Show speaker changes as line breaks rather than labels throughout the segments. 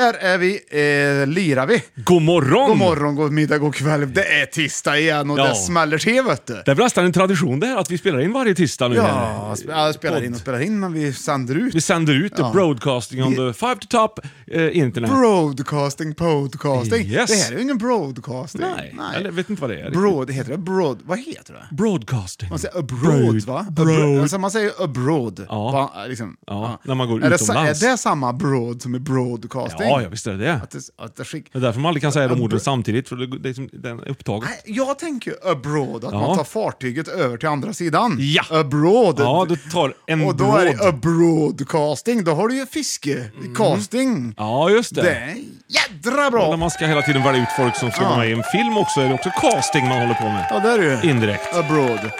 Här är vi, eh, lirar vi.
God morgon!
God morgon, god middag, god kväll. Det är tisdag igen och
Mm. Ja.
det smäller till vet du.
Det är väl nästan en tradition det här, att vi spelar in varje tisdag nu. här.
Ja, sp- ja, spelar in och
Podd.
spelar in, men vi sänder ut.
Vi sänder ut
Ja.
broadcasting on the five to top eh, internet.
Broadcasting, podcasting.
Yes.
Det här är ju ingen broadcasting.
Nej, eller vet inte vad det är.
Broad, heter det broad? Vad heter det?
Broadcasting.
Man säger abroad, va? Abroad.
Broad.
Alltså man säger abroad.
Ja.
Va, liksom.
Ja, när man går
är
utomlands.
Det, sa- är det samma abroad som är broadcasting?
Ja, ja, visst är det det.
Att det, att det skick...
Det är därför man aldrig kan säga de
Abro-
orden samtidigt, för det, det är som, den är upptaget.
Nej, Jag tänker ju abroad, att
Ja.
man tar fartyget över till andra sidan.
Ja.
Abroad.
Ja, du tar en
Och då är det
broad.
abroadcasting, då har du ju fiskecasting.
Mm. Ja, just
Det
det.
är jädra
Och När
bra!
man ska hela tiden välja ut folk som ska vara med i en film också, är det också casting man håller på med.
Ja, där är du.
Indirekt.
Abroad.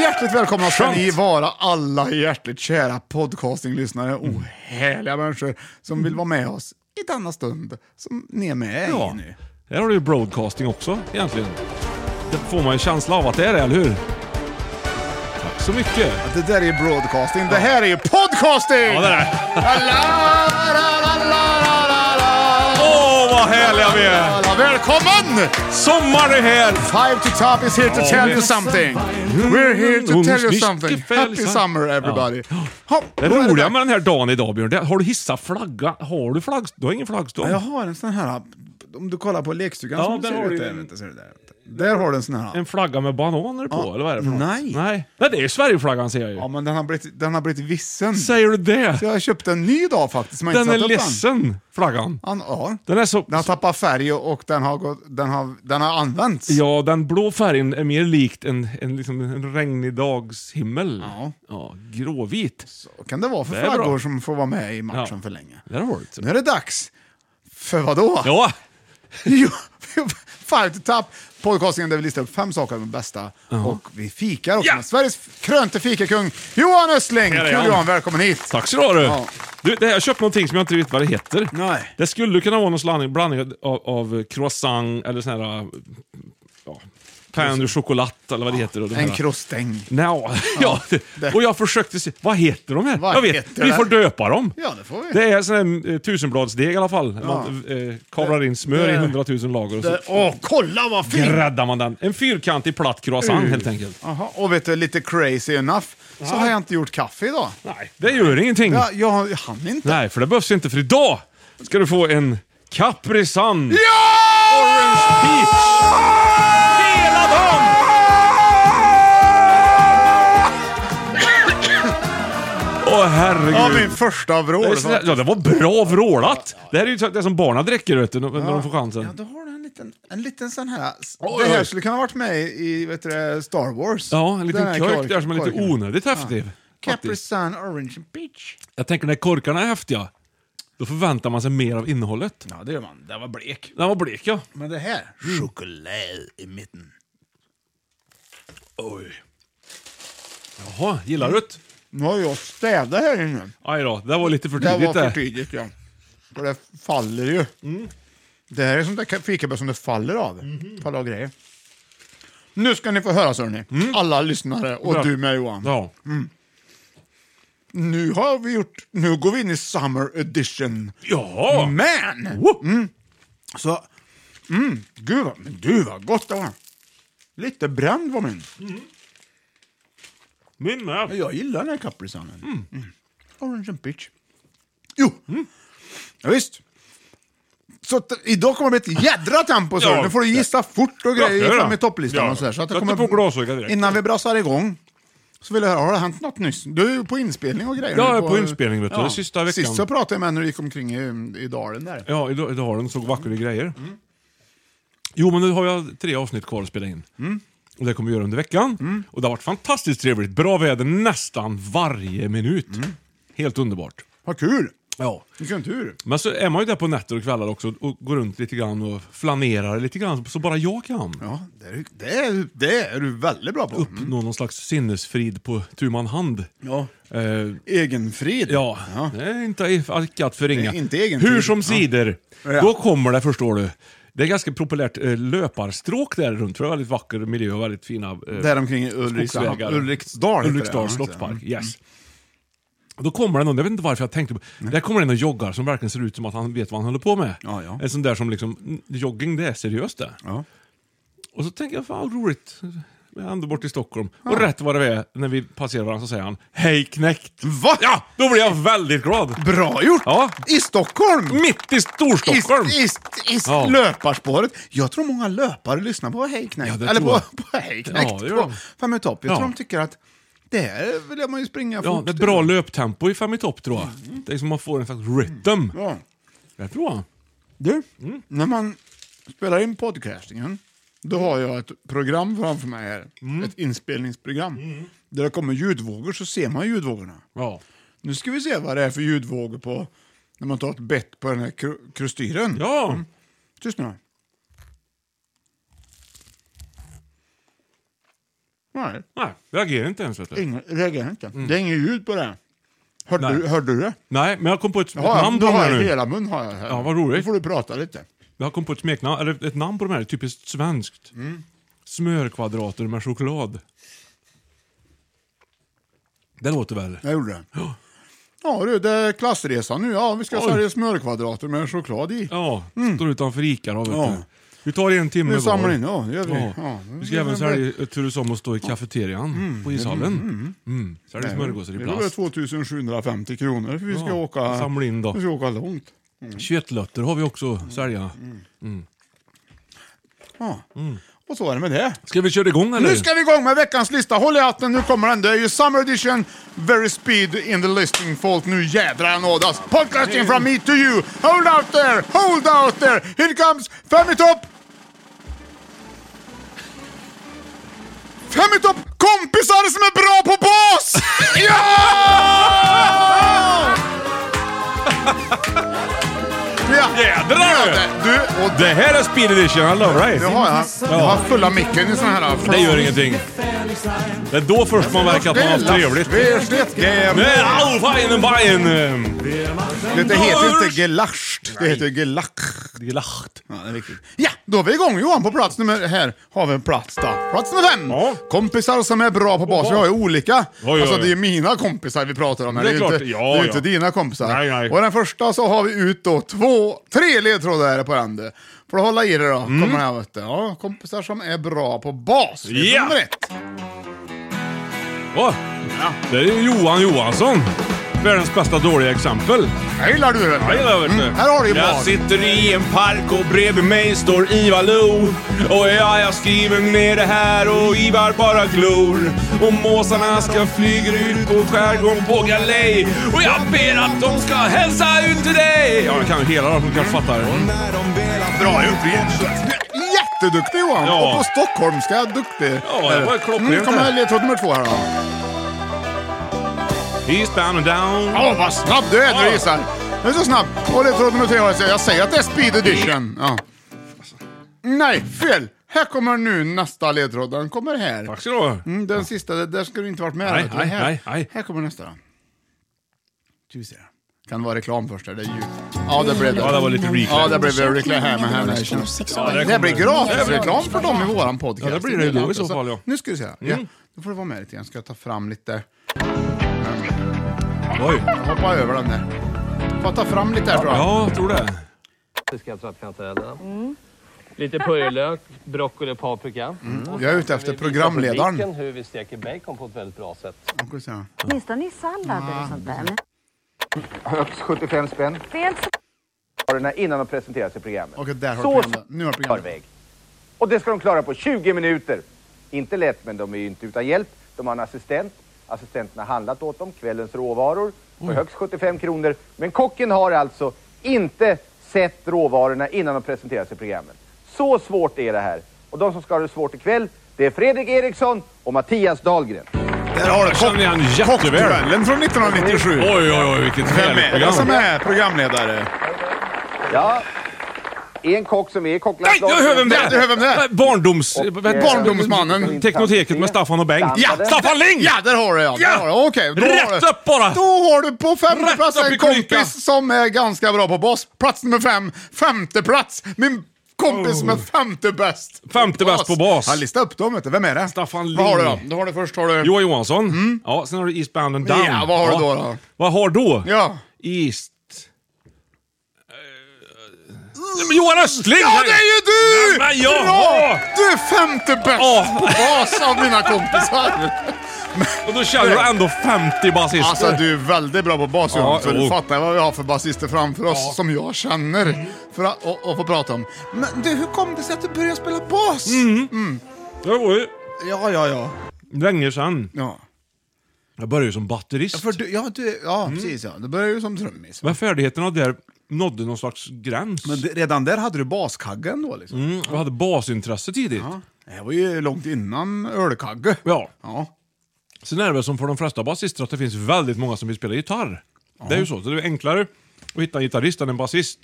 Hjärtligt välkomna ska
Skönt.
ni vara alla hjärtligt kära podcastinglyssnare
Mm.
och härliga människor som vill vara med oss i denna stund som ni är med
Ja.
i nu.
Där har du ju broadcasting också egentligen. Det får man ju känsla av att det är det, eller hur? Tack så mycket.
Det där är ju broadcasting, det här är ju podcasting!
Ja, det är det.
La, la, la, la, la, la, la.
Åh, vad härliga vi är!
Alla Välkommen!
Sommar är här!
Five to Top is here to
Ja,
tell
men-
you something. We're here to
Mm,
tell you
snyggt,
something.
fel,
Happy
sant.
summer everybody. Ha,
Det
då är
roliga
dags.
med den här dagen idag Björn, det, har du hissat flagga? Har du flaggstång? Du har ingen flaggstång?
Jag har en sån här, om du kollar på lekstugan
Ja,
som
där
ser
har
ut
du
där,
en-
vänta, ser du där. Där har du en sån här.
En flagga med bananer på,
Ja.
eller vad är det för något?
Nej.
Nej. Nej, det är Sverigeflaggan ser jag ju.
Ja, men den har blivit, den har blivit vissen.
Säger du det?
Så jag köpte en ny idag faktiskt, men jag har
Den
inte
är
satt upp
ledsen, flaggan.
Den. Han, ja.
Den är så...
Den har tappat färg och och den har, gått, den har, den har använts.
Ja, den blå färgen är mer likt en, en, liksom en regnig dagshimmel.
Ja.
ja. Gråvit.
Så kan det vara för
Det är
flaggor
bra.
som får vara med i matchen
Ja.
för länge.
Där har du det.
Nu är det dags. För vad då?
Ja!
Jo, Five to Top. Podcastingen där vi listar upp fem saker av de bästa. Och vi fikar också
Ja.
med Sveriges krönte fikakung Johan Östling.
Här är
Kul
han.
Johan, välkommen hit.
Tack så du ha du.
Ja.
du det här, jag köpte någonting som jag inte vet vad det heter.
Nej.
Det skulle kunna vara någon blandning, blandning av, av croissant eller sån här... Ja, pain au chocolat eller vad det heter. Och de
En
här-
krostäng.
Nja, ja.
det-
Och jag försökte se, vad heter de här?
Vad
jag vet,
heter
vi
det?
får döpa dem.
Ja, det får vi.
Det är sån här eh, tusenbladsdeg i alla fall. Man eh, kavlar in smör
Det-
i hundratusen lager och så
Det- Åh, kolla vad fint!
gräddar man den. En fyrkantig platt croissant
Mm.
helt enkelt.
Aha, och vet du, lite crazy enough, så har jag inte gjort kaffe idag.
Nej, det gör ingenting.
Ja, jag, jag hann inte.
Nej, för det behövs inte för idag ska du få en Capri Sun Orange
Ja!
Peach. Hela dagen! Åh herregud.
Ja, min första
Det är
vrål.
sådär- Ja, det var bra vrålat! Det här är ju så- det som barnen dricker vet du, när när de får
Ja,
chansen.
då har du en liten, en liten sån här.
Oj,
det här
oj.
skulle kunna ha varit med i vet du, det, Star Wars.
Ja, en liten
Den här
kork
kork-
där som är lite
korken.
onödigt häftig.
Capri
faktiskt.
Sun Orange and Peach.
Jag tänker när korkarna är häftiga, då förväntar man sig mer av innehållet.
Ja, det gör man. Det var blek.
Den var blek Mm. ja.
Men det här, choklad i mitten.
Oj. Jaha, gillar du det?
Nu har jag städat här inne.
Aj då, det var lite för
Det
tidigt
var
det. Mm.
för tidigt, ja. För det faller ju. Det här är sånt där fikabröd som det faller av.
Mhm.
Faller av grejer. Nu ska ni få höra, hörni. Alla lyssnare och
Mm. Bra.
du med Johan.
Ja.
Nu har vi gjort... Nu går vi in i summer edition.
Ja.
Men!
Wo!
Så... Mm, gud, vad, men du vad gott det var. Lite bränd var min.
Min
Ja,
med.
Jag gillar den här kaprisanen. Mm. Orange and peach. Jo!
Mm.
Ja, visst. Så att, idag kommer det bli ett jädra tempo, så
Ja.
nu får du gissa fort och
Ja, det
grejer
gör
fram
det.
i topplistan.
Ja.
Och så här, så att det
Sätter
kommer,
på glasögat direkt.
Innan vi brassar igång så vill jag höra, har det hänt något nyss? Du är ju på inspelning och grejer.
Ja,
nu
jag är på inspelning, vet du. Det sista veckan.
Sist så pratade jag med när du gick omkring i, i dalen där.
Ja, idag, idag har den så vackra grejer. Jo, men nu har jag tre avsnitt kvar att spela in. Och det kommer vi göra under veckan. Och det har varit fantastiskt trevligt. Bra väder nästan varje minut. Helt underbart.
Vad kul!
Mm. Ja.
Vilken tur!
Men så är man ju där på nätter och kvällar också och går runt lite grann och flanerar lite grann så bara jag kan.
Ja, det är, det är, det är du väldigt bra på. Mm.
Uppnå någon slags sinnesfrid på tu man hand.
Ja.
Eh,
Egenfrid.
Ja, det är inte alkat för inga.
Det är inte egen
Hur
tid.
som
Ja.
sidor,
Ja.
då kommer det förstår du. Det är ganska populärt eh, löparstråk där runt, för det är väldigt vacker miljö och väldigt fina eh,
Där omkring i Ulriksdal-
skogsvägar.
Ulriksdal heter det, ja,
Ulriksdal
just det. Mm.
slottspark, yes. Då kommer det någon, jag vet inte varför jag tänkte på Där kommer en och joggar som verkligen ser ut som att han vet vad han håller på med.
Ja, ja.
En sån där som liksom, mm, jogging det är seriöst det.
Ja.
Och så tänker jag, fan vad roligt. Jag är ändå bort i Stockholm. Och rätt vad det är, när vi passerar varandra så säger han Hej knekt!
Va?
Ja, då blir jag väldigt glad.
Bra gjort!
Ja.
I Stockholm!
Mitt i Storstockholm!
I, i, i
Ja.
löparspåret. Jag tror många löpare lyssnar på Hej Knäckt.
Ja, det
Eller
tror
på,
jag.
på Hej Knäckt.
Ja, det gör
på
de.
Fem i topp. Jag
Ja.
tror de tycker att det här vill man ju springa
ja,
fort.
det är bra löptempo i Fem i topp tror jag. Det är som man får en slags rhythm.
Mm. Ja.
Det tror jag.
Du,
Mm.
när man spelar in podcastingen, då har jag ett program framför mig här.
Mm.
Ett inspelningsprogram. Där det kommer ljudvågor så ser man ljudvågorna.
Ja.
Nu ska vi se vad det är för ljudvågor på när man tar ett bett på den här kru- krustyren.
Ja.
Tyst nu. Nej,
Nej, jag reagerar inte ens vet du.
ingen, reagerar inte. Det är inget ljud på det. Hörde,
Mm. Nej.
du, hörde du det?
Nej, men jag kom på ett, ett
Ja,
namn
du
på de
har
här
jag,
nu.
hela mun har jag här.
Ja, vad roligt.
Då får du prata lite.
Jag kom på ett smeknamn, eller ett namn på de här, typiskt svenskt.
Mm.
Smörkvadrater med choklad. Det låter väl?
Jag gjorde det. Ja. du, det är klassresan nu. Ja, vi ska
Oj.
sälja smörkvadrater med choklad i.
Ja, står utanför Ica då vet
Mm. Ja.
du. Vi tar en timme
Vi samlar
var.
in, ja, det gör vi. Ja.
Vi ska även sälja turas om att stå i kafeterian på ishallen. Mm. Säljer smörgåsar i
Det var
plast.
2750 kronor för vi ska
Ja,
åka...
samla in då.
Vi ska åka långt.
Köttlötter har vi också
Mm.
att sälja.
Ja. Och så är det med det.
Ska vi köra igång eller?
Nu ska vi igång med veckans lista. Håll i hatten, nu kommer den. Det är ju Summer Edition, Very Speed in the Listing Fault. Nu jädrar nådas. Podcasting from me to you. Hold out there, hold out there. Here comes Fem i topp! Fem i topp! Kompisar som är bra på bas! Ja! ja.
Jädrar du!
Du, och
Det här är Speed Edition, I love
nu
right?
har jag, jag har fulla micken i sån här...
Det gör ingenting. Det är då först man verkar att man har haft trevligt. Nu är all feinen Bayern!
Det heter inte gelascht, det heter gelack.
Gelacht.
Ja, det är riktigt. Ja, då är vi igång Johan på plats nummer... Här har vi en plats då. Plats nummer fem.
Ja.
Kompisar som är bra på bas. Vi har ju olika.
oj,
Alltså
oj.
det är ju mina kompisar vi pratar om här.
Det är
ju
klart.
inte,
Ja,
det är ju
ja.
inte dina kompisar.
Nej, nej.
Och den första så har vi ut då två, tre ledtrådar här på den. Får du hålla i dig då.
Mm.
Kommer här vet du. Ja, kompisar som är bra på bas. Det är
Ja.
nummer ett.
Åh, Det är ju Johan Johansson. Världens bästa dåliga exempel.
Jag gillar du vet du.
Ja, det gillar jag, vet du.
Mm, här har du ju
Jag
bas.
sitter i en park och bredvid mig står Ivar Lo Och ja, jag skriver ner det här och Ivar bara glor. Och måsarna ska flyga ut på skärgården på galej. Och jag ber att de ska hälsa ut till dig. Ja, jag kan ju hela dem, du kanske fattar.
Bra gjort! Jätteduktig Johan!
Ja.
Och på stockholmska duktig.
Ja, det var klockrent
Nu kommer
det.
ledtråd nummer två här då.
He's bound and down.
Ja, vad snabb du är när du
Ja.
gissar. Du är så snabb. Och ledtråd nummer tre har jag sagt. Jag säger att det är speed edition. Ja. Nej, fel! Här kommer nu nästa ledtråd. Den kommer här.
Tack ska du ha.
Mm, den sista, det- där ska du inte varit med.
Nej,
vet du.
nej,
här,
nej, nej.
här kommer nästa. Ska vi se. Kan det vara reklam först? eller? Det är ju... Ja, det blev det.
Ja, det var lite reclaim.
Ja, det blev väl reklam. här med här med
Ja,
här.
det
Det blir
kommer-
gratisreklam för dem i våran podcast. alltså-
Ja, det blir det ju då i så fall, ja. Mm.
Nu ska vi se. Ja, då får du vara med lite grann. Ska jag ta fram lite...
Oj.
Hoppa över den där. Får jag ta fram lite här tror jag.
Ja, jag tror det.
Lite purjolök, broccoli och paprika.
Jag är ute efter programledaren.
Hur vi steker bacon på ett väldigt bra sätt.
Då ska vi se.
Åtminstone ni sallader och sånt där. Men
Ah. Högst 75 spänn
det är inte så
har den här innan de presenterar sig programmet.
Okej, där har du
Sås
programmet. Nu har
i
programmet.
förväg. Och det ska de klara på 20 minuter. Inte lätt, men de är ju inte utan hjälp. De har en assistent. Assistenten har handlat åt dem kvällens råvaror för högst 75 kronor. Men kocken har alltså inte sett råvarorna innan de presenteras i programmet. Så svårt är det här. Och de som ska ha det svårt ikväll, det är Fredrik Eriksson och Mattias Dahlgren.
Där har du
känner jag han jätteväl.
Cocktailduellen från 1997.
Oj, oj, oj, vilket
Vem är det som
välprogram.
är programledare?
Ja, en kock som är
Nej,
kocklandslaget.
jag hör vem det
Ja, du hör vem det är.
är! Barndoms...
Och,
vad heter-
eh,
Barndomsmannen.
Teknoteket med Staffan och Bengt.
Ja,
Staffan Ling!
Ja, där har du ja. Där
Ja!
har du. Okej, då har
Rätt
du.
upp bara!
Då har du på femte
Rätt
plats
upp
en
i klykan.
kompis som är ganska bra på boss. Plats nummer fem. Femte plats. Min kompis som är femte bäst.
Oh. Femte bäst på bas.
Ja, lista upp dem vet du. Vem är det?
Staffan Ling.
Vad har du då? Då har du först har du...
Johan Johansson. Ja, sen har du East Bound and Down.
Mm. Ja, vad har du då då?
Vad har då?
Ja.
East... Eh, men Johan Östling!
Ja, det är ju du!
Ja, men jag
Bra!
har-
Du är femte bäst
Ja.
på bas av mina kompisar.
Och då känner du ändå 50 basister.
Alltså du är väldigt bra på bas Johan,
Ja,
så du
jo.
fattar vad vi har för basister framför oss som jag känner för att, och, och få prata om. Men du, hur kom det sig att du började spela bas?
Mm. Det var ju
Ja, ja, ja.
länge sedan.
Ja,
Jag började ju som batterist.
för du, ja, du, ja precis ja. Du började ju som trummis.
Men färdigheterna där nådde någon slags gräns.
Men det- redan där hade du baskaggen då liksom.
Mm, jag hade basintresse tidigt.
Ja. Det här var ju långt innan ölkagge.
Ja.
Ja.
Sen är det väl som för de flesta basister att det finns väldigt många som vill spela gitarr. Det är ju så. Så det är enklare att hitta en gitarrist än en basist.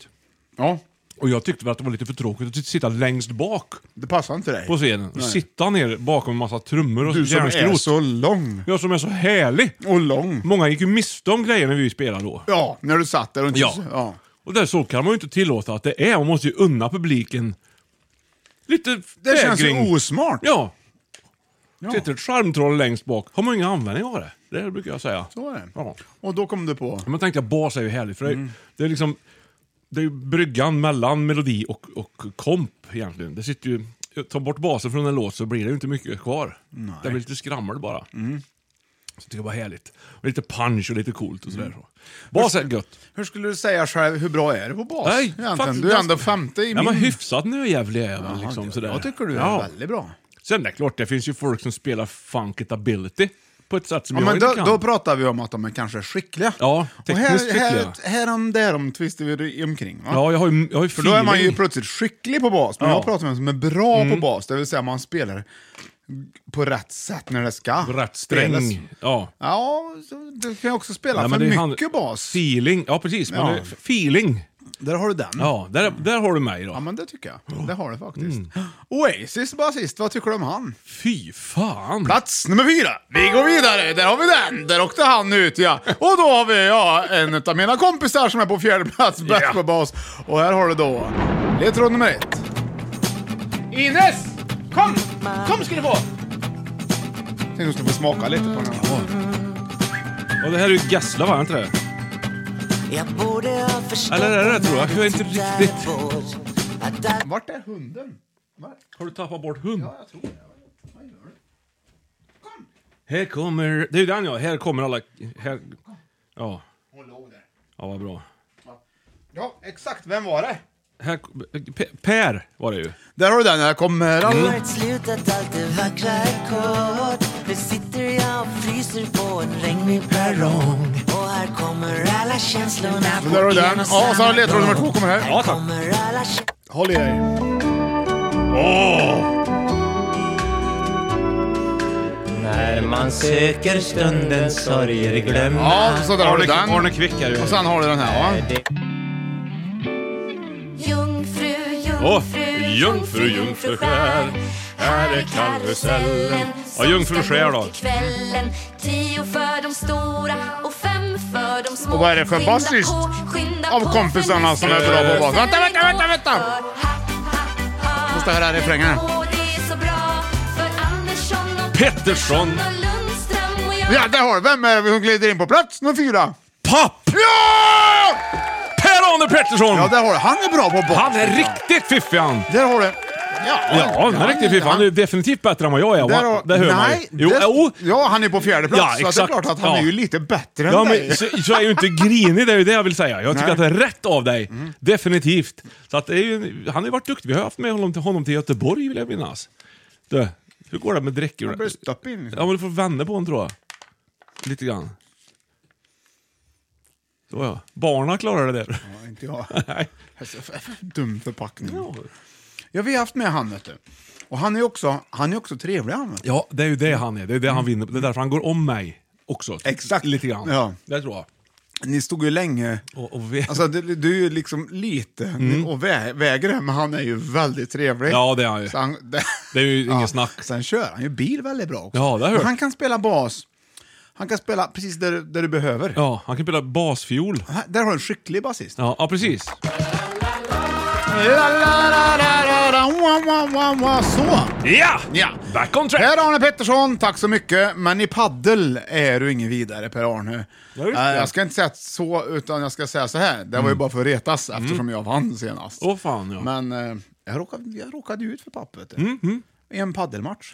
ja.
Och jag tyckte väl att det var lite för tråkigt att sitta längst bak
Det passar inte dig.
på scenen. Och sitta ner bakom en massa trummor och
Du som är
järnskrot.
så lång.
Jag som är så härlig!
Och lång.
Många gick ju miste om grejer när vi spelade då.
Ja, när du satt där och inte...
Ja.
ja.
Och där så kan man ju inte tillåta att det är. Man måste ju unna publiken lite
Det känns
fägring.
ju osmart.
Ja.
Ja.
Sitter ett charmtroll längst bak. Har man ju ingen användning av det. Det brukar jag säga.
Så är det.
Ja.
Och då kom du på...
Men tänkte jag, bas är ju härligt för det, är-
Mm.
det är liksom det är ju bryggan mellan melodi och, och komp egentligen. Det sitter ju, ta bort basen från en låt så blir det ju inte mycket kvar. Det blir lite skrammel bara.
Mm.
Så tycker jag var härligt. Och lite punch och lite coolt och sådär.
Mm.
Bas är gött.
Hur skulle du säga själv, hur bra är du på bas?
Nej,
Egentligen,
faktiskt-
du är ändå femte i
Ja,
min...
men hyfsat nöjävlig är jag väl
Ja,
liksom.
jag-
Sådär.
Jag tycker du är
ja.
väldigt bra.
Sen det är klart, det finns ju folk som spelar funkitability på ett sätt som
Ja,
jag
men
inte
då,
kan.
då pratar vi om att de är kanske skickliga.
Ja, tekniskt
och här,
skickliga.
Här, härom därom tvistar vi omkring. Va?
ja, jag har ju, jag har ju
För då är man ju
feeling.
plötsligt skicklig på bas, men
Ja. Mm.
jag pratar om en som är bra på bas, det vill säga man spelar på rätt sätt när det ska.
På rätt sträng.
spelas.
Ja.
Ja, så du kan ju också spela
Nej,
för
men det är hand-
mycket bas.
Feeling, ja precis. Men
Ja.
det- feeling.
Där har du den.
Ja, där, där har du mig
Ja,
då.
men det tycker jag. Det har du faktiskt.
Mm.
Oasis basist, vad tycker du om han?
Fy fan.
Plats nummer fyra. Vi går vidare. Där har vi den. Där åkte han ut ja. Och då har vi ja, en av mina kompisar som är på fjärde plats, bäst
Ja.
på bas. Och här har du då ledtråd nummer ett.
Ines! Kom! Kom ska ni få!
Tänkte du skulle få smaka lite på den här.
Och det här är ju Gessle va, är inte det? Eller är det det, tror jag? Jag är inte riktigt...
Vart är hunden? Var?
Har du tappat bort hund?
Jag tror det. Vad gör du?
Här kommer... Det är ju den ja, här kommer alla... Här... Ja.
Hon låg där.
ja, vad bra.
Ja, exakt. Vem var det?
Här... P- Per var det ju.
Där har du den. Här kommer alla. Där har du den. Ja, och så har du ledtråd nummer två kommer här.
Ja tack.
Håll i dig.
När man söker stundens sorger glömmer
Ja, så där har du
Arne,
den.
Arne Kvick är det ju.
Och sen har du den här va?
Jungfru,
Åh,
jungfru,
jungfru, jungfru skär. Här är karusellen. Ja, jungfru skär då.
Kvällen, tio för de stora och fem för de
Och vad är det för basist av kompisarna som är bra på bas? Vänta, vänta, vänta, vänta! Måste höra refrängen.
Pettersson
Ja, där har du. Vem är det som glider in på plats nummer fyra?
Papp!
Ja!
Per-Arne Pettersson!
Ja, där har du. Han är bra på bas.
Han är riktigt fiffig han!
Där har du. Ja,
Ja, han är riktigt fiffig. Han är definitivt bättre än vad jag är.
Där har,
Va? Det hör man ju.
nej,
Jo,
där-
jo.
Ja, han är på fjärde plats.
Ja,
Så det är
exakt.
klart att han
Ja.
är ju lite bättre
Ja,
än
men,
dig.
så, så jag är ju inte grinig, det är ju det jag vill säga. Jag tycker
Nej.
att det är rätt av dig. Definitivt. Så att det är ju, han har ju varit duktig. Vi har haft med honom till, honom till Göteborg vill jag minnas. Du, hur går det med dräckor?
Han blir stopp in.
Ja, men du får vända på honom tror jag. Lite grann. Så ja. Barna klarar det där.
Ja, inte jag.
Nej.
Alltså, f- f- Dum förpackning.
Ja.
Ja, vi har haft med han, vet du. Och han är också, han är också trevlig, han. vet du.
Ja, det är ju det han är. Det är det han vinner på. Det är därför han går om mig också.
Mm. Exakt.
Lite grann.
Ja.
Det tror jag.
Ni stod ju länge...
Och, och vi...
Alltså, du, du är ju liksom lite och vä, väger det, men han är ju väldigt trevlig.
Ja, det är han ju.
Så han, det,
Det är ju inget snack.
Sen kör han ju bil väldigt bra också.
Ja, det har jag hört.
Och han kan spela bas. Han kan spela precis där, där du behöver.
Ja, han kan spela basfiol.
Här- Där har du en skicklig basist.
Ja, ja precis.
La-la-la-la-la-la, wa, wa, wa, wa, Så!
Ja!
Ja.
Back on track!
Per-Arne Pettersson, tack så mycket. Men i paddel är du ingen vidare Per-Arne.
Nej, just
Eh,
det. Mm.
jag ska inte säga så, utan jag ska säga så här. Det var ju bara för att retas eftersom jag vann senast.
Åh fan ja.
Men eh, jag, råkade, jag råkade ju ut för papp, vet du.
Mm,
I en paddelmatch.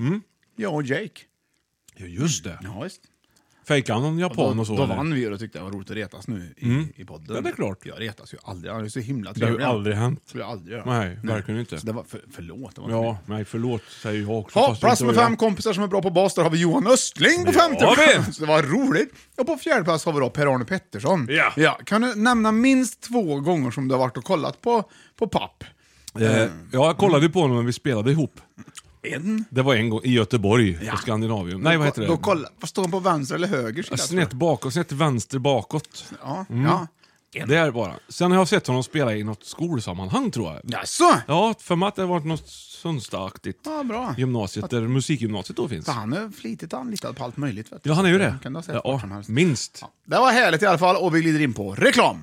Jag och Jake.
ja just det.
Ja, visst.
Fejkade han någon
Då,
japan och så?
då
eller? Mm.
vann vi och då tyckte jag det var roligt att retas nu i, i podden.
Ja, det är klart.
Jag retas ju aldrig. Han är så himla
Det har
trevlig.
ju aldrig hänt.
Det skulle jag aldrig göra.
Nej, verkligen inte.
Så det var, för, förlåt, det var inte
Ja, nej förlåt säger jag också.
Ja,
fast
plats
inte
nummer
jag.
fem, kompisar som är bra på bas, där har vi Johan Östling på
Ja,
femte
vi.
plats. Det var roligt. Och på fjärde plats har vi då Per-Arne Pettersson.
Ja.
Kan du nämna minst två gånger som du har varit och kollat på, på papp?
Eh, ja, jag kollade ju på honom när vi spelade ihop.
En?
Det var en gång i Göteborg, på Skandinavium. Nej, vad heter det?
Då kolla, vad står han på vänster eller höger sida? tror jag?
Snett Mm. bakåt, snett vänster bakåt.
Ja, ja.
Det är det bara. Sen har jag sett honom spela i något skolsammanhang tror jag.
Jaså?
Ja, för mig att det har varit något Sundstaaktigt.
Ja, bra.
Gymnasiet, där musikgymnasiet då finns.
Så han är flitigt anlitad på allt möjligt. Vet du.
Ja, han är ju
Så
det.
Kan du ha sett vart som
Ja,
helst.
minst.
Det var härligt i alla fall och vi glider in på reklam.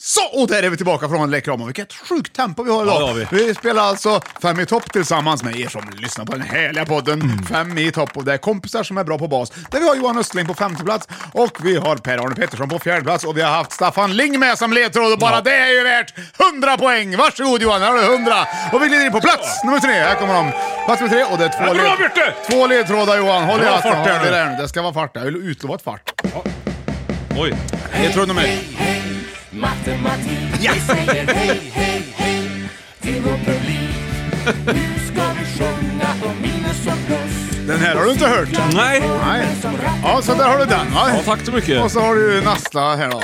Så, och där är vi tillbaka från reklamen. Vilket sjukt tempo vi har idag.
Ja, det har
vi. spelar alltså Fem i topp tillsammans med er som lyssnar på den härliga podden
Mm.
Fem i topp. Och det är kompisar som är bra på bas. Där vi har Johan Östling på femte plats och vi har Per-Arne Pettersson på fjärde plats och vi har haft Staffan Ling med som ledtråd och bara det är ju värt 100 poäng. Varsågod Johan, här har du 100. Och vi glider in på plats nummer tre. Här kommer de. Plats nummer tre och det är två,
Ja, bra, Björte!
två ledtrådar Johan. Håll i
Bra
hatten.
fart där
Håll i
nu.
den. Det ska vara fart. Jag vill utlova ett fart.
Oj.
Ledtråd nummer ett.
Ja.
Den här har du inte hört.
Nej.
Nej. Ja, så där har du den va?
Ja, tack så mycket.
Och så har du ju Nastla här då.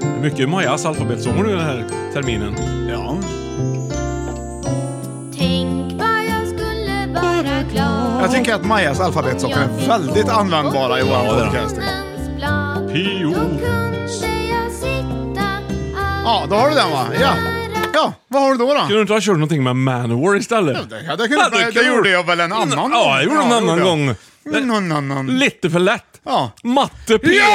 Det är Mycket Majas alfabetsånger nu den här terminen.
Ja.
Tänk vad jag skulle vara glad
Jag tycker att Majas alfabetsånger är väldigt användbara i våran
Ja, det är
podcast.
Hans blad
Pio.
kunde jag sitta
Ja, då har du den va? Ja. Ja, vad har du då då?
Kunde du inte ha kört någonting med Manowar istället?
Ja, det hade jag kunnat- det gjorde jag väl en annan
gång. Ja, jag gjorde en
Ja,
annan
gjorde jag. Mm,
gång.
Någon annan.
Lite för lätt.
Ja.
Matte P.
Ja!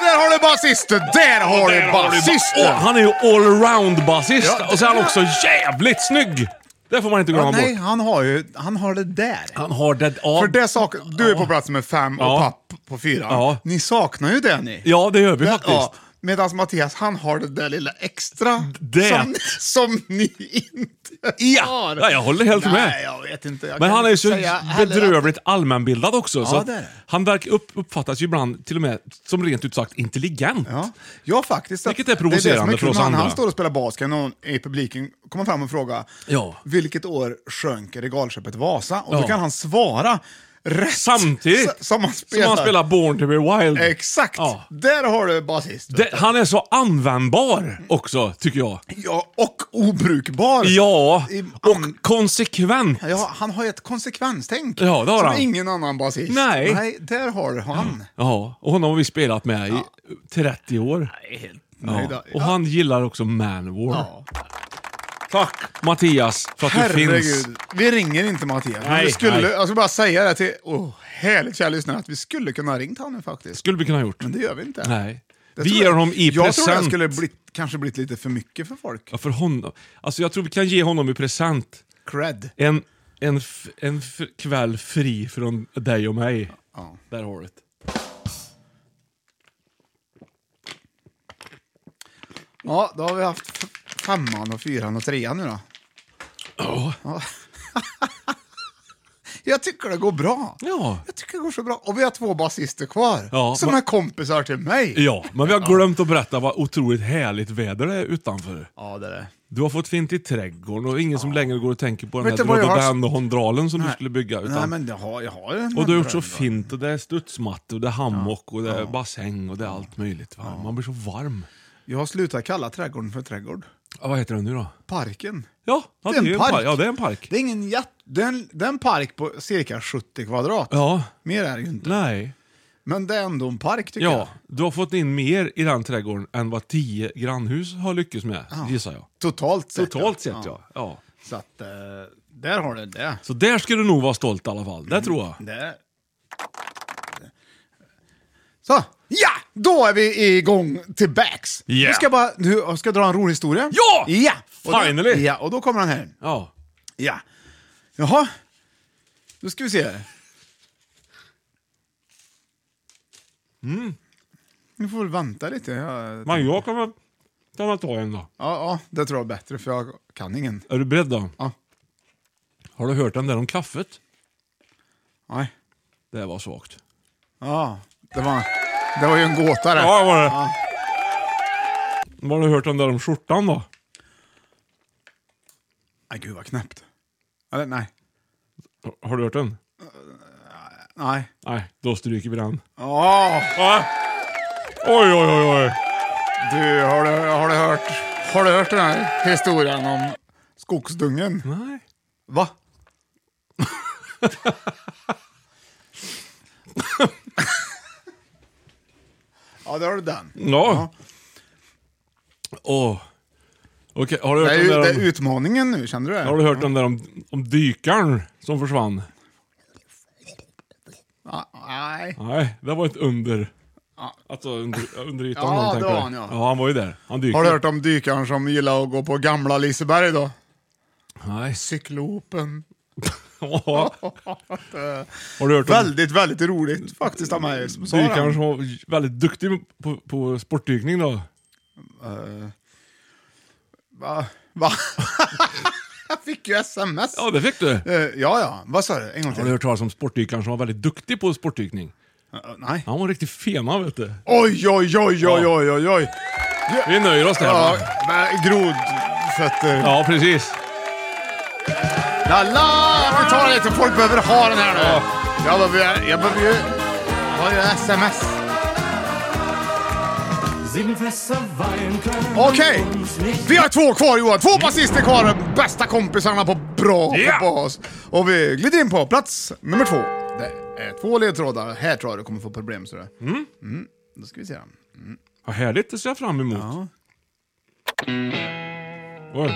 Där har du basisten! Där har du
Åh,
basisten!
han är ju allround-basist
Ja,
och så är han också jävligt snygg! Det får man inte glömma
Ja, nej,
bort.
han har ju han har det där.
Han har det... Ja,
För det sak, du är på plats med fem och
Ja.
papp på fyra.
Ja.
Ni saknar ju det ni.
ja det gör vi faktiskt.
Medan Mattias, han har det där lilla extra
Det.
Som, som ni inte
Ja.
har.
Ja, jag håller helt
Nej,
med.
jag vet inte. Jag
Men
kan
han är ju
inte
så
säga heller att-
bedrövligt allmänbildad också. så
Ja,
att
det är det.
han verkar upp, uppfattas ju ibland till och med som rent ut sagt intelligent.
Ja, ja faktiskt.
Vilket är provocerande för oss
när
andra.
Han står och spelar bas kan någon i publiken komma fram och fråga
Ja.
vilket år sjönk regalskeppet Vasa? Och
Ja.
då kan han svara rätt.
Samtidigt
s- som han spelar.
som han spelar Born to be Wild.
Exakt!
Ja.
Där har du basist.
Det, han är så användbar också, tycker jag.
Ja, och obrukbar.
Ja,
I- an-
och konsekvent.
ja, han har ju ett konsekvenstänk
Ja, det har
som
han.
ingen annan basist.
Nej.
Nej, där har du han.
Ja, och honom har vi spelat med i 30 år.
nöjda.
Ja. Och
Ja.
han gillar också Manowar.
Ja.
Tack Mattias för att du finns.
Herregud, vi ringer inte Mattias. Men
Nej,
vi skulle,
nej.
Jag ska bara säga det till oh, härligt kära lyssnare, att vi skulle kunna ha ringt han nu faktiskt.
Skulle vi kunna ha gjort.
Men det gör vi inte.
Nej.
Det
vi
tror
ger
Mm. jag-
honom i
jag
present.
tror det skulle bli, kanske blivit lite för mycket för folk.
Ja, för honom. Alltså jag tror vi kan ge honom i present
Cred.
en, en, f- en f- kväll fri från dig och mig.
Ja.
Där har du det.
Ja, då har vi haft f- femman och fyran och trean nu då. Ja. jag tycker det går bra.
Ja.
Jag tycker det går så bra. Och vi har två basister kvar,
Ja,
som
va-
är kompisar till mig.
Ja, men vi har glömt att berätta vad otroligt härligt väder det är utanför.
Ja, det är det.
Du har fått fint i trädgården och ingen som längre går och tänker på den
Vet
här
du vad jag har-
rhododendronhondralen som du skulle bygga. Utan,
Nej, men jag har, jag har en
och du har gjort
dröm,
så
va?
fint och det är studsmatta och det är hammock och det är bassäng och det är allt möjligt. Va? Man blir så varm.
Jag har slutat kalla trädgården för trädgård.
Ja, vad heter den nu då?
Parken.
Ja, ja, det, är en park. Ja, det är en park.
Det är ingen jätt... Det är en, det är en park på cirka 70 kvadrat.
Ja.
Mer är det ju inte.
Nej.
Men det är ändå en park tycker jag.
Ja, du har fått in mer i den trädgården än vad tio grannhus har lyckats med, gissar jag.
Totalt sett.
Totalt sett ja. ja.
Så att, eh, där har du det.
Så där ska du nog vara stolt i alla fall, det tror jag.
Där. Så! Ja! Då är vi igång till backs.
Yeah.
Nu ska jag bara, nu, jag ska dra en rolig historia.
Ja!
Ja! då-
Finally!
Ja, och då kommer den här.
Ja.
Ja. Jaha. Då ska vi se. Mm. Mm. Nu får väl vänta lite. Jag, ja,
Men jag kan väl kan väl ta en då.
ja, det tror jag är bättre för jag kan ingen.
Är du beredd då?
Ja.
Har du hört den där om kaffet?
Nej.
Det var svagt.
Ja, det var, det var ju en gåta det.
Ja, var det. Har du hört den där om skjortan då?
Nej, gud vad knäppt. Eller nej.
Har du hört den?
Nej.
Nej, då stryker vi den.
Åh,
Ja. Oj, oj, oj, oj.
du, har du, har, du hört, har du hört den här historien om skogsdungen?
Nej.
Va? ja, där har du den.
Ja. Åh. Okej, har du
Det
hört
är,
den
ju, det
där
är
om...
utmaningen nu, kände du det?
Har du hört den där om, om dykaren som försvann?
Ja, Nej.
Nej, det var ett under. Alltså under, under ytan.
Ja,
om man
det
tänker.
var han, ja.
Ja, han var ju där. Han dyker.
Har du hört om dykaren som gillar att gå på gamla Liseberg då?
Nej.
Cyklopen.
Ja. Har du hört om
Väldigt, väldigt roligt faktiskt av mig som sa
dykaren
den.
som var väldigt duktig på, på sportdykning då?
Eh, Va? Va? Jag fick ju sms.
Ja, det fick du.
Eh, ja, ja. Vad sa du? En gång
Har
till.
du hört talas om sportdykaren som var väldigt duktig på sportdykning?
Eh, nej.
Han var en riktig fena vet du.
Oj, oj, oj, oj, oj, oj, oj.
Vi nöjer oss där.
Ja,
va?
med grodfötter.
ja precis.
La, la! Vi tar lite, folk behöver ha den här nu. Jag behöver, jag behöver ju... Jag har ju sms. Okej, vi har två kvar Johan. Två basister kvar. Bästa kompisarna på bra
Ja.
på bas. Och vi glider in på plats nummer två. Det är två ledtrådar. Här tror jag du kommer få problem. Så det. Mm. Då ska vi se.
Vad härligt, det ser jag fram emot. Oj.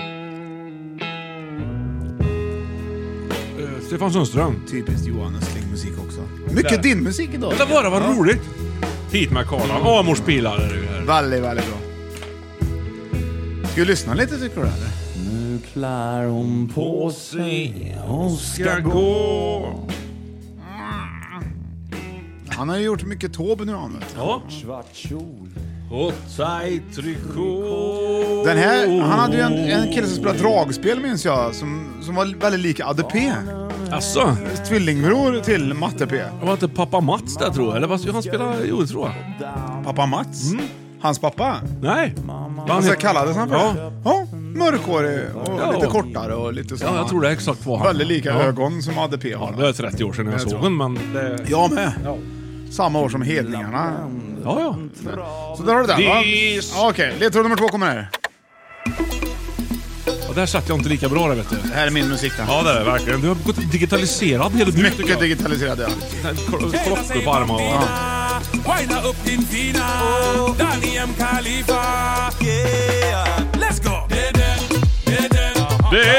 Eh, Stefan Sundström.
Typiskt Johan Östling-musik också. Mycket din musik idag.
Vänta bara, vad roligt! Hit med karlan. Amors bilar är det ju här.
Väldigt, väldigt bra. Ska vi lyssna lite tycker du eller?
Nu klär hon på sig och ska
gå.
Han har ju gjort mycket Tåb nu han vet.
Ja. Svart kjol och tajt trikå.
Den här, han hade ju en, en kille som spelade dragspel minns jag, som, som var väldigt lik Adde P.
Asså?
Tvillingbror till Matte P.
Var inte pappa Mats där tror jag? Eller vad han spelar? Jo, det tror jag.
Pappa Mats. Hans pappa.
Nej.
Han så kallades han för
Mm. Ja.
det? Ja, mörkhårig och
Ja.
lite kortare och lite så.
Ja, jag tror det är exakt vad han...
Väldigt lika
ja.
ögon som Adde P har.
Det är 30 år sedan jag,
Jag
såg
tror-
den, men... Det...
Jag med. Samma år som Hedningarna.
Ja, ja.
Så där har du den va?
Dis.
Ja, Okej, ledtråd nummer två kommer här.
Och där satt jag inte lika bra där, vet du.
Det här är min musik det.
Ja, det är det verkligen. Du har gått digitaliserad hela tiden. tycker
Mycket
jag.
digitaliserad ja.
Klockor på armarna.
Ja.
Wina upp din fina Daniel Khalifa Yeah, let's go! Det är den, det är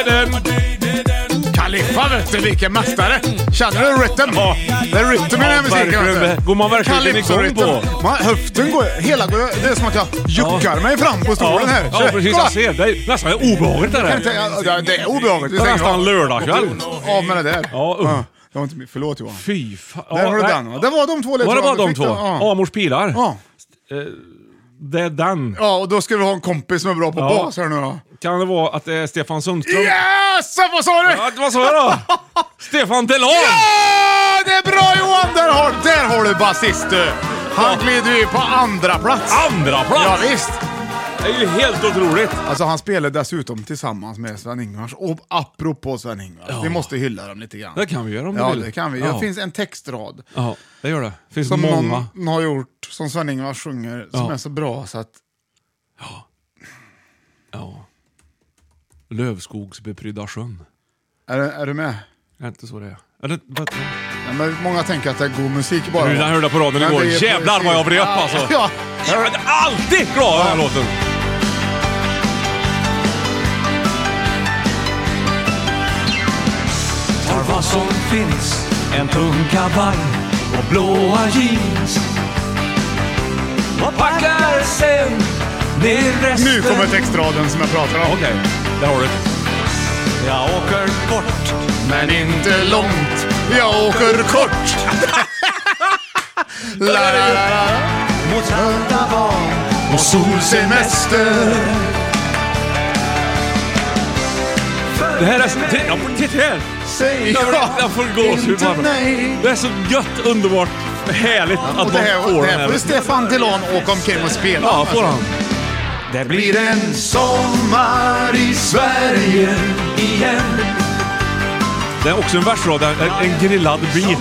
den
Det är den!
Kaliffa vet du, vilken mästare! Känner du rytmen?
Ja.
Det är rytmen i den här
Ja,
musiken vet
verkligen.
du.
Går man verkligen
Calypso-rytmen.
igång på?
Man, höften går hela... Det är som att jag juckar mig fram på stolen här.
Ja, precis.
Kolla!
Jag ser. Det är nästan obehagligt det
Kan
där.
inte- ja, ja, Det är obehagligt. Vi
Det är
stänger
nästan
av.
lördagkväll.
Av med det där.
Ja, usch.
Ja, det var inte min- Förlåt Johan.
Fy fan.
Där har du den. va? Det var de två
Var det
ledtrådarna
bara
vi
de
fick
två?
då. Ja.
Amors pilar.
Ja.
Det är den.
ja, och då ska vi ha en kompis som är bra på
Ja.
bas här nu då.
Kan det vara att det är Stefan Sundström?
Yes! Vad sa du?
Ja, vad sa jag då? Stefan Delon!
Ja, det är bra Johan! Där har, där har du basist du! Han glider ju på andra plats.
Andra
Ja,
plats!
visst.
Det är ju helt otroligt.
Alltså han spelar dessutom tillsammans med Sven-Ingvars. Och apropå Sven-Ingvars, vi måste hylla dem lite grann.
Det kan vi göra om
Ja,
du vill.
det kan vi.
Ja.
Det finns en textrad
Ja, det gör det. Finns
som
många.
någon har gjort, som Sven-Ingvars sjunger, som
Ja.
är så bra så att...
Ja. Lövskogsbeprydda sjön.
Är, är du med?
Är det inte så det är? Eller, vad?
Ja, men många tänker att det är god musik bara.
Du, den hörde jag på radion
Men
igår.
det är
Jävlar vad jag vred upp
Ja,
alltså.
Ja.
Jag är alltid glad av den här låten.
Tar vad som finns En tung kavaj och blåa jeans Och packar sen ner resten
Nu kommer textraden som jag pratar om.
Okej, där har du det.
Jag åker bort
Men inte långt, jag åker kort. la, la, la, la.
mot Santa barn
Och solsemester.
Det här är så... Titta, ja, titta här!
Säg
Jag får- jag får gåshud
inte
bara.
nej.
Det är så gött, underbart, härligt
Och
att
det
man
här,
får
det
den
här
här.
får Stefan Delon åka omkring och spela.
Ja, får han.
Det
Blir
blir
det en sommar i Sverige?
igen
Det är också en versrad, en, en grillad bit.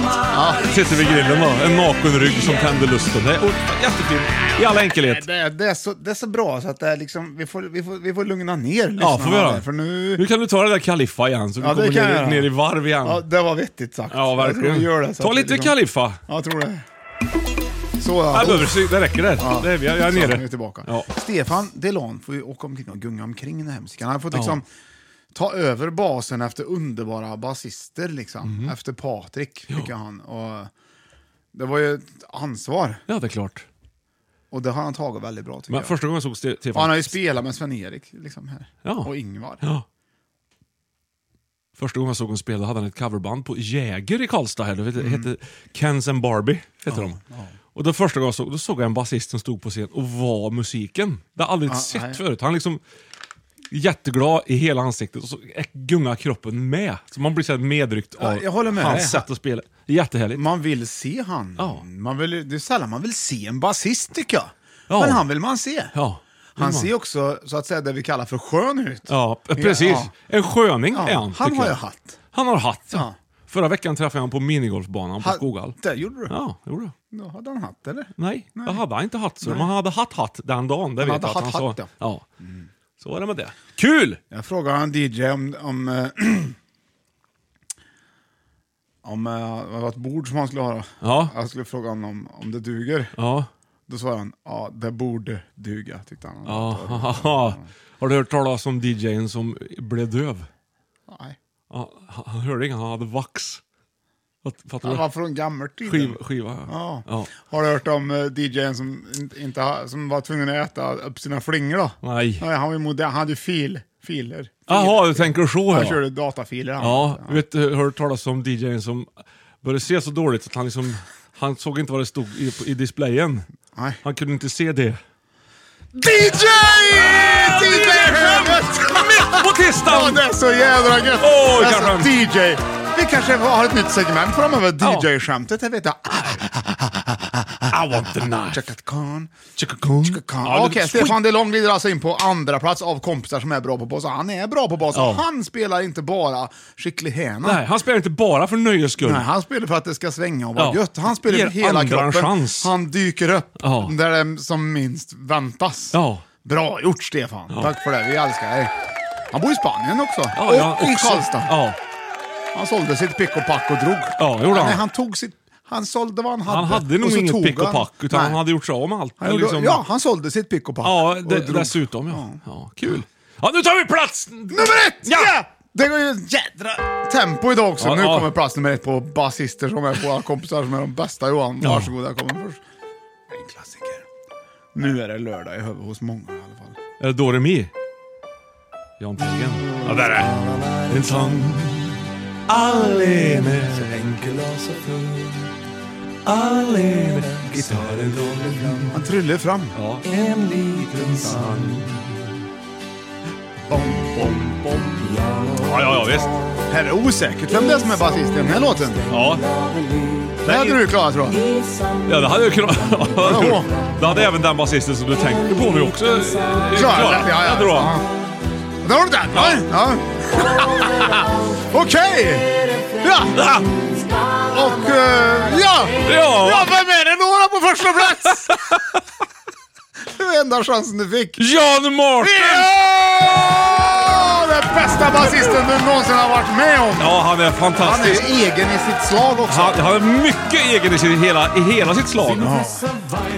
Sitter vid grillen då. En naken rygg som tänder lusten. Det är o- jättefint. I all enkelhet.
Det är, det, är så, det är så bra så att det är liksom, vi, får, vi, får, vi får lugna ner
Ja, får vi
lyssnarna
göra.
här, För nu...
Nu kan du ta det där Kaliffa igen så du
Ja, det
kommer
kan jag
ner,
göra.
ner i varv igen.
Ja, det var vettigt sagt.
Ja,
Jag tror vi gör
verkligen.
det, liksom- så
Ta
att
lite
vi
Kaliffa.
Ja, jag tror det. Så ja.
Jag behöver, det räcker där.
Ja.
Det är, vi. jag är
Så, nu är vi
nere.
tillbaka.
Ja.
Stefan Delon får ju åka omkring och gunga omkring den här musiken. Han har fått
Ja.
liksom ta över basen efter underbara basister, liksom.
Mhm.
Efter Patrik, tycker han. Och det var ju ett ansvar,
Ja, det är klart.
och det har han tagit väldigt bra tycker
Men
jag.
första gången jag såg Ste-
Och han
Stefan...
har ju spelat med Sven-Erik liksom här.
Ja.
och Ingvar.
Ja. Första gången jag såg honom spela hade han ett coverband på Jäger i Karlstad. Här. Det hette-
Mm.
hette Kens and Barbie. Heter de. Och det första gången jag såg då såg jag en basist som stod på scen och var musiken. Det har jag aldrig
Ja,
sett
nej.
förut. Han liksom jätteglad i hela ansiktet och så gungar kroppen med. Så man blir så här medryckt
Ja,
av
jag håller med dig.
hans sätt att spela. Jättehärligt.
Man vill se han.
Ja.
Man vill, det är sällan man vill se en basist tycker jag.
Ja.
Men han vill man se.
Ja.
Han
Ja.
ser också så att säga det vi kallar för skön ut.
Ja, precis.
Ja.
En sköning
Ja,
är han.
han
tycker
har
jag.
ju hatt.
Han har hatt, ja.
Ja.
Förra veckan träffade jag honom på minigolfbanan på
Ha-
Skoghall.
Där gjorde du.
Ja, det gjorde jag.
Då hade han hatt eller?
Nej, det hade han inte haft. Så man hade hatt hatt den dagen, det
Han
vet
hade
jag att han
hatt
sa.
hatt, ja.
ja. Så var det med det. Kul!
Jag frågade en DJ om... om eh, Om eh, det var ett bord som han skulle ha då.
Ja.
Jag skulle fråga honom om det duger.
Ja.
Då svarade han, ja det borde duga tyckte han.
Ja, haha. Har du hört talas om DJn som blev döv?
Nej.
Ja, han han hörde inget, han hade vax. Fat- Fattar
Han
du?
var från gammeltiden.
Skiva, skiva.
Ja.
Ja.
Har du hört om eh, DJn som, inte- inte, ha- som var tvungen att äta upp sina flingor då?
Nej.
Nej han var ju modern, han hade ju fil, filer.
Jaha, du tänker så
Han
ja.
körde datafiler han.
Ja, vet du, hörde talas om DJn som började se så dåligt att han liksom, han såg inte vad det stod i, i displayen. Han kunde inte se det.
DJ! DJ Helmet!
Mitt på tisdagen!
Ja, det är så jävla gött!
Åh, vilka skämt.
alltså, DJ! Vi kanske har ett nytt segment framöver, DJ-skämtet, det vet Ah, jag.
I want the knife.
Chaka Khan.
Chaka Khan.
Ja, Okej,
det-
Stefan DeLong glider alltså in på andra plats av kompisar som är bra på bas. Han är bra på bas.
Ja.
Han spelar inte bara skicklig häna.
Nej, han spelar inte bara för nöjes skull.
Nej, han spelar för att det ska svänga och vara
Ja.
gött. Han spelar
Ger
med hela
andra en
kroppen.
chans.
Han dyker upp
Ja.
där det som minst väntas.
Ja.
Bra gjort Stefan!
Ja.
Tack för det, vi älskar dig. Han bor i Spanien också.
Ja,
och
ja,
i
också.
Karlstad.
Ja.
Han sålde sitt pick och pack och drog.
Ja, gjorde han.
Nej, han tog sitt... Han sålde vad han hade.
Han hade
och
nog
så
inget
tog
pick och
han-
pack, utan
Nej.
han hade gjort sig av med allt.
Han gjorde,
liksom.
Ja, han sålde sitt pick och pack.
Ja,
och
det,
drog.
dessutom ja. ja. Kul. Ja, nu tar vi plats
Nummer ett! Ja! Det går ju ett jädra tempo idag också.
Ja,
nu
ja.
kommer plats nummer ett på basister som är våra kompisar som är de bästa Johan.
Ja.
Varsågod, här kommer först. En klassiker. Nu är det lördag i huvudet hos många i alla fall.
Eh, Är det Do Re Mi? Jan Tegren. Ja, där är det. En sång allene. Så enkel och så full. Allene. Gitarren dålig fram.
Han tryllar fram.
Ja. En liten sann.
Bom, bom, bom, ja.
Ja, ja, ja, visst.
Här är osäkert vem det är som är basist i den här låten.
Ja.
Det hade du klarat tror jag.
Ja, det hade jag kunnat... Ja. Det hade även den basisten som du tänkte på nu också eh,
Klarat det, ja, ja.
hade du.
Ja. Där har du den! va? Ja. Okej! Ja!
Ja.
Och eh, ja!
Ja.
ja, vem är det några på första plats? det var enda chansen du fick.
John Martin!
Ja! Den bästa basisten du någonsin har varit med om.
Ja, han är
Han
fantastisk.
är egen i sitt slag också.
Han, han är mycket egen i, sin, hela, i hela sitt slag.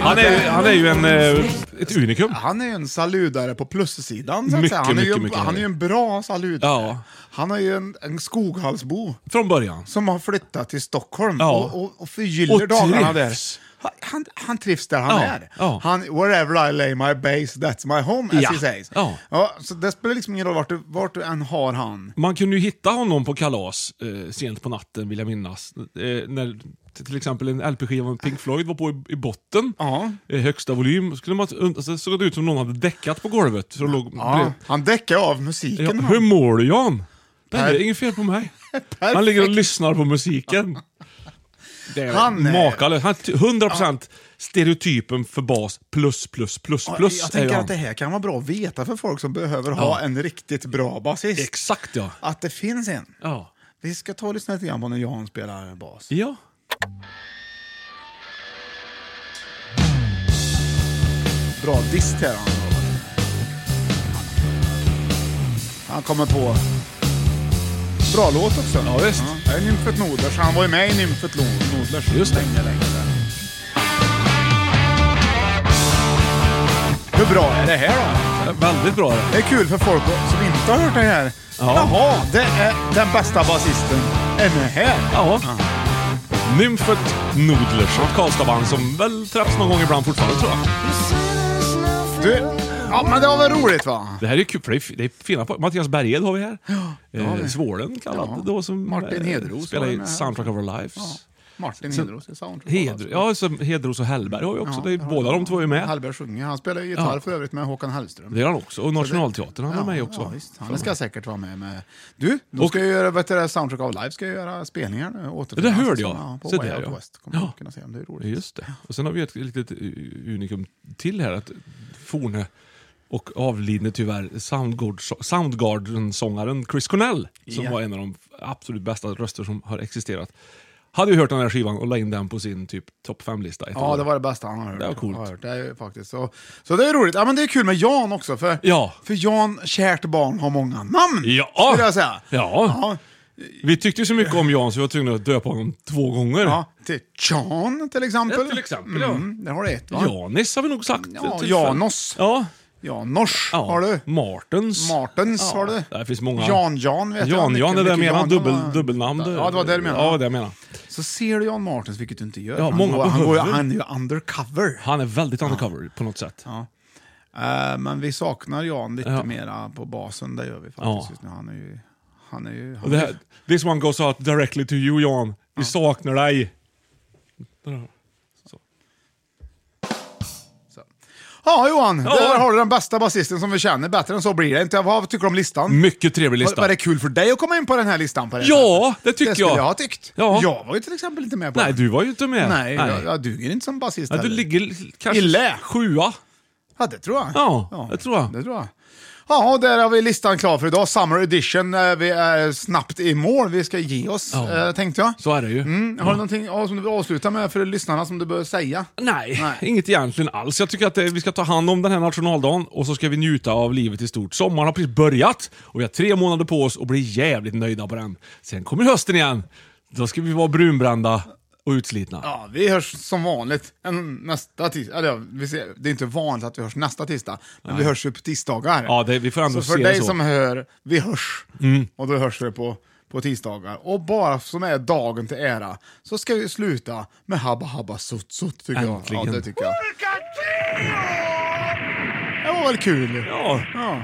Han, är, han är ju en, eh, ett unikum.
Han är ju en saludare på plussidan. Så att
Mycket,
säga. Han, är ju,
mycket, mycket
han är ju en bra saludare.
Ja.
Han är ju en, en Skoghalsbo
Från början.
som har flyttat till Stockholm
Ja.
och, och, och förgyller
Och
dagarna
trivs.
där. Han, han trivs där han
Ja,
är.
ja.
Han, wherever I lay my base, that's my home, as
Ja,
he says.
ja.
så det spelar liksom ingen roll vart du, vart du än har han.
Man kunde ju hitta honom på kalas eh, sent på natten, vill jag minnas. Eh, när t- till exempel en LP-skiva med Pink Floyd var på i, i botten,
Ja.
eh, högsta volym, skulle man, alltså, såg det ut som någon hade däckat på golvet. Så det låg,
Ja, han däckar av
blev, ja,
musiken.
hur
han.
mår du Jan? Det
Per-
är inget fel på mig. Han ligger och lyssnar på musiken. Det är
Han är-
makalöst. Han är t- 100% stereotypen för bas plus, plus, plus,
Ja, jag
plus. är ju
tänker
han.
att det här kan vara bra att veta för folk som behöver ha en riktigt bra basist.
Exakt ja.
Att det finns en.
Ja.
Vi ska ta och lyssna lite grann på när Jan spelar bas.
ja.
Bra dist här han har. Han kommer på... Bra låt också.
Ja, visst.
det här är Nymfet Nodlers. Han var ju med i Nymfet Lo- Nodlers
Just det.
länge, länge där. Hur bra är det här då?
Väldigt bra det.
Det är kul för folk som inte har hört det här.
Ja.
Jaha, det är den bästa basisten ännu här.
Ja. Nymfet Nodlers, ett Karlstadband som väl träffas någon gång ibland fortfarande tror jag.
Du, ja men det var väl roligt va?
Det här är ju kul, för det är, det är fina po- Mattias Berghed har vi här. eh, Svålen kallad
Ja.
då som eh,
Martin Hedros
spelar
var
i
med här.
Soundtrack of Our Lives.
Martin
Så-
Hedros i soundtrack.
Hedro, ja, så Hedros och Hellberg har ju också,
Ja,
det är,
det har
båda
de.
de två är med.
Hallberg sjunger. Han spelar ju gitarr
Ja.
för övrigt med Håkan Hellström.
Det är han också. Och Nationalteatern han är med i också.
Ja,
va?
visst. Han ska säkert vara med. med. Du, då ska jag göra, vet du, det här Soundtrack of Life ska jag göra spelningar nu. återförenas.
Det hörde jag.
Ja, på
Se
Way
där,
Out
ja.
West. Kommer
Ja.
du kunna se om det är roligt.
Just det. Och sen har vi ett litet u- unikum till här. Att forne och avlidne tyvärr Soundgård- Soundgarden-sångaren Chris Cornell, som
Ja.
var en av de absolut bästa röster som har existerat, hade ju hört den här skivan och la in den på sin typ topp 5-lista. ett
Ja,
år.
det var det bästa han har hört.
Det var coolt.
Har hört. Det är faktiskt. Så, så det är roligt. Ja, men det är kul med Jan också. För,
Ja.
för Jan, kärt barn, har många namn.
Ja.
Skulle jag säga.
Ja. Vi tyckte så mycket om Jan så vi var tvungna att döpa honom två gånger.
Ja, till John till exempel.
Ja, till exempel, ja.
Mm, där har du ett va?
Janis har vi nog sagt.
Ja,
till-
Janos.
Ja.
Janors har du.
Martens.
Martens har du.
Det finns många.
Jan-Jan vet jag.
Jan, Jan,
Mycket-
det är det jag
mycket
menar.
Jan-Jan har-
Dubbel, dubbelnamn.
Ja, det var det du menade.
Ja, det var det jag menar.
Så ser du Jan Martens, vilket du inte gör.
Ja,
han,
många
går, han, går,
behöver.
han är ju undercover.
Han är väldigt undercover på något sätt.
Ja. Eh, men vi saknar Jan lite
Ja.
mera på basen, det gör vi
Ja.
faktiskt just nu. Han är ju... Han är ju...
Och
Han
det,
är
här, this one goes out directly to you Jan. Vi saknar dig.
Ja, Johan.
Ja.
Där har du den bästa basisten som vi känner. Bättre än så blir det inte. Vad tycker du om listan?
Mycket trevlig lista.
Var, var det kul för dig att komma in på den här listan? På det
Ja, det tycker
Det skulle
jag.
jag ha tyckt.
Ja.
Jag var ju till exempel inte med på
Nej,
den.
du var ju inte med.
Nej, Jag, jag duger inte som basist
Ja, du
heller.
ligger kanske
Ille.
sjua.
Ja, det tror jag.
Ja, det tror jag.
Det tror jag. Ja, och där har vi listan klar för idag. Summer edition. eh, Vi är snabbt i mål. Vi ska ge oss,
Ja.
eh, tänkte jag.
Så är det ju.
Mm. Har du någonting ja, som du vill avsluta med för lyssnarna som du bör säga?
Nej, inget egentligen alls. Jag tycker att eh, vi ska ta hand om den här nationaldagen och så ska vi njuta av livet i stort. Sommaren har precis börjat och vi har tre månader på oss och blir jävligt nöjda på den. Sen kommer hösten igen. Då ska vi vara brunbrända och utslitna.
Ja, vi hörs som vanligt en, nästa tisdag. Eller, ja, vi ser, det är inte vanligt att vi hörs nästa tisdag, men vi
Nej.
hörs ju på tisdagar.
Ja, det- vi får ändå
så för
se det
dig
så.
som hör, vi hörs.
Mm.
Och då hörs vi på, på tisdagar. Och bara som är dagen till ära, så ska vi sluta med Habba Habba Sutt Sutt, tycker jag. Ja,
Äntligen.
det tycker jag. Det var väl kul?
Ja.
ja.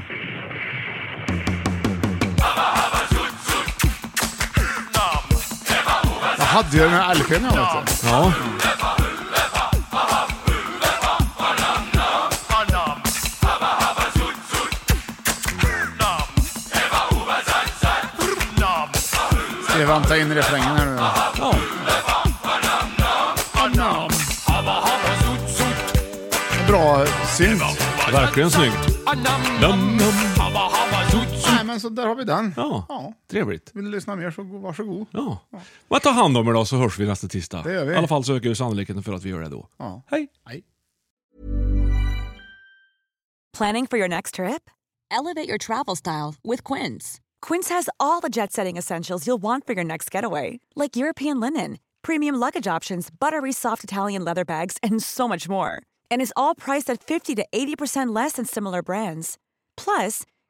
Jag hade ju den här LP'n jag vet du.
Ja.
Ska vi vänta in refrängen här nu då?
Ja.
Bra synt.
Verkligen snyggt. Dum, dum.
Nej, men så där har vi den.
Ja. Trevligt.
Vill du lyssna mer så go- varsågod.
Ja. Men ta hand om er då så hörs vi nästa tisdag.
Det gör vi.
I alla fall så ökar ju sannolikheten för att vi gör det då.
Ja.
Hej.
Hej.
Planning for your next trip? Elevate your travel style with Quince. Quince has all the jet setting essentials you'll want for your next getaway, like European linen, premium luggage options, buttery soft Italian leather bags, and so much more. And is all priced at 50 to 80% less than similar brands. Plus,